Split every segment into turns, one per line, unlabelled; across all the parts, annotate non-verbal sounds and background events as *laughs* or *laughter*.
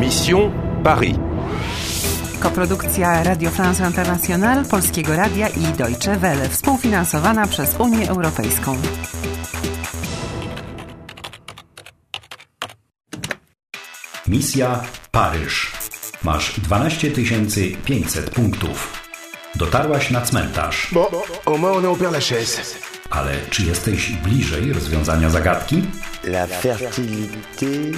Mission Paris.
Koprodukcja Radio France International, Polskiego Radia i Deutsche Welle, współfinansowana przez Unię Europejską.
Misja Paryż. Masz 12 500 punktów. Dotarłaś na cmentarz,
Bon, au moins on est au Père Lachaise.
ale czy jesteś bliżej rozwiązania zagadki?
La fertilité.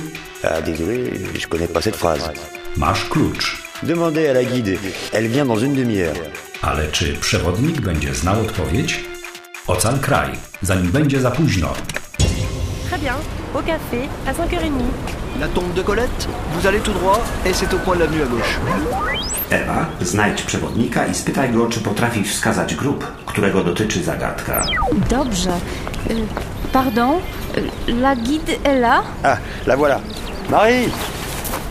Ah, désolé, je connais pas cette phrase.
Masz klucz,
Demandez à la guide. Elle vient dans une demi-heure.
ale czy przewodnik będzie znał odpowiedź? Ocal kraj, zanim będzie za późno.
Très bien, au café, à 5h30.
La tombe de Colette, vous allez tout droit et c'est au coin de l'avenue à gauche.
Ewa, znajdź przewodnika i spytaj go, czy potrafi wskazać grup, którego dotyczy zagadka.
Dobrze. Y, Euh, Pardon, y, la guide est là
Ah, la voilà. Marie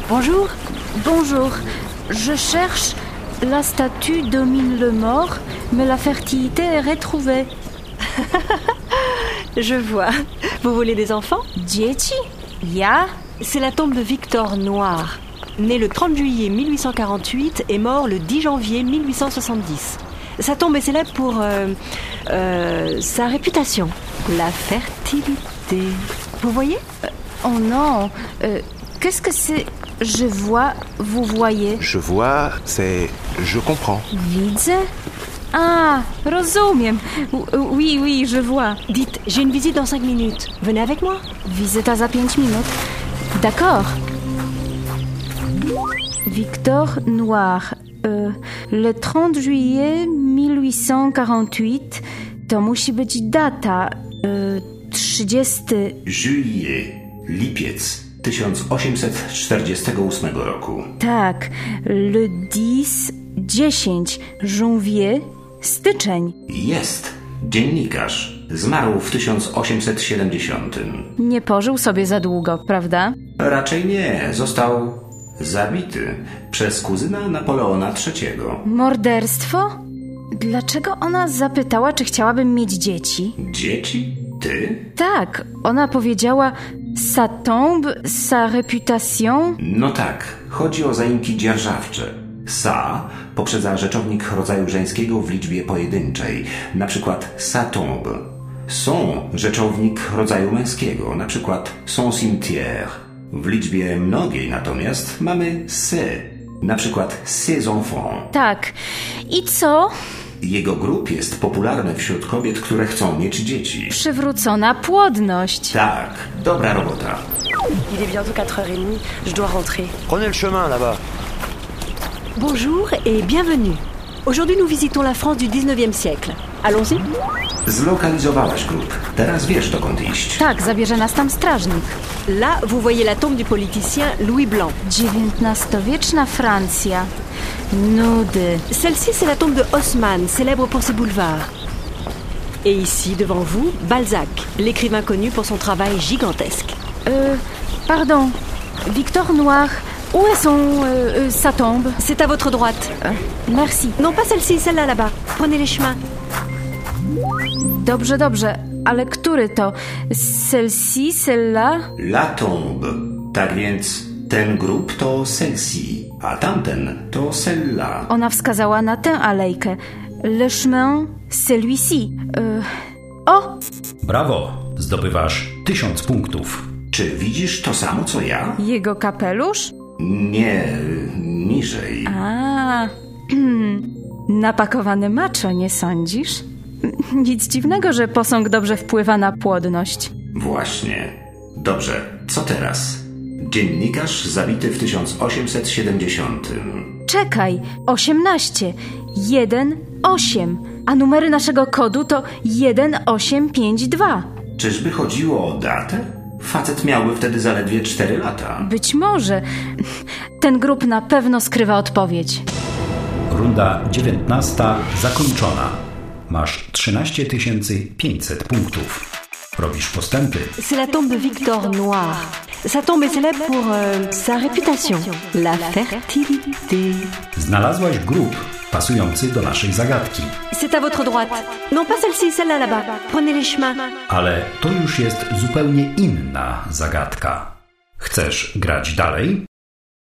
Bonjour. Bonjour. Je cherche la statue domine le mort, mais la fertilité est retrouvée.
*laughs* Je vois. Vous voulez des enfants
Dzieci? Ja?
C'est la tombe de Victor Noir, né le 30 juillet 1848 et mort le 10 janvier 1870. Sa tombe est célèbre pour euh, euh, sa réputation, la fertilité. Vous voyez
Oh non. Euh, Qu'est-ce que c'est Je vois, vous voyez.
Je vois, c'est. Je comprends.
Widzę? Ah, rozumiem. U- Oui, oui, je vois.
Dites, j'ai une visite dans 5 minutes. Venez avec moi.
Wizyta za 5 minut. D'accord. Victor Noir. E, le 30 juillet 1848 to musi być data. E, 30.
Juillet, lipiec 1848 roku.
Tak. Le 10. 10. Janvier. Styczeń.
Jest dziennikarz. Zmarł w 1870.
Nie pożył sobie za długo, prawda?
Raczej nie, został zabity przez kuzyna Napoleona III.
Morderstwo? Dlaczego ona zapytała, czy chciałabym mieć dzieci?
Dzieci? Ty?
Tak, ona powiedziała sa tombe, sa réputation.
No tak, chodzi o zaimki dzierżawcze. Sa poprzedza rzeczownik rodzaju żeńskiego w liczbie pojedynczej, na przykład sa tombe. Są rzeczownik rodzaju męskiego, na przykład son cimetière. W liczbie mnogiej natomiast mamy se, na przykład ses enfants.
Tak. I co?
Jego grup jest popularny wśród kobiet, które chcą mieć dzieci.
Przywrócona płodność.
Tak, dobra robota.
Il est bientôt 4h30, je dois rentrer.
Prenez le chemin là-bas.
Bonjour et bienvenue. Aujourd'hui, nous visitons la France du 19e siècle. Allons-y
Zlokalizowałaś grup. Teraz wiesz dokąd iść.
Tak, zabierze nas tam strażnik.
Là, vous voyez la tombe du politicien Louis Blanc.
XIX-wieczna Francja. Nudy.
Celle-ci, c'est la tombe de Haussmann, célèbre pour ses boulevards. Et ici, devant vous, Balzac, l'écrivain connu pour son travail gigantesque.
E, pardon. Victor Noir. Où est son e, e, sa tombe?
C'est à votre droite.
E, merci.
Non, pas celle-ci, celle-là là-bas. Prenez les chemins.
Dobrze, dobrze. Ale który to? Celle-ci, celle-là?
La tombe. Tak więc ten grób to Celsi, a tamten to Sella.
Ona wskazała na tę alejkę. Le chemin, celui-ci. E, o,
Brawo, zdobywasz 1000 punktów.
Czy widzisz to samo co ja?
Jego kapelusz?
Nie, niżej.
A, *clears throat* napakowany maczo, nie sądzisz? *laughs* Nic dziwnego, że posąg dobrze wpływa na płodność.
Właśnie. Dobrze, co teraz? Dziennikarz zabity w 1870.
Czekaj, 18, 1, 8, a numery naszego kodu to 1852.
Czyżby chodziło o datę? Facet miałby wtedy zaledwie 4 lata.
Być może *laughs* ten grób na pewno skrywa odpowiedź.
Runda 19 zakończona. Masz 13 500 punktów. Robisz postępy.
C'est la tombe de Victor Noir. Sa tombe est célèbre pour euh, sa réputation, la fertilité.
Znalazłaś grób pasujący do naszej zagadki,
C'est à votre droite. Non, pas celle-ci, celle-là là-bas. Prenez les chemins.
ale to już jest zupełnie inna zagadka. Chcesz grać dalej?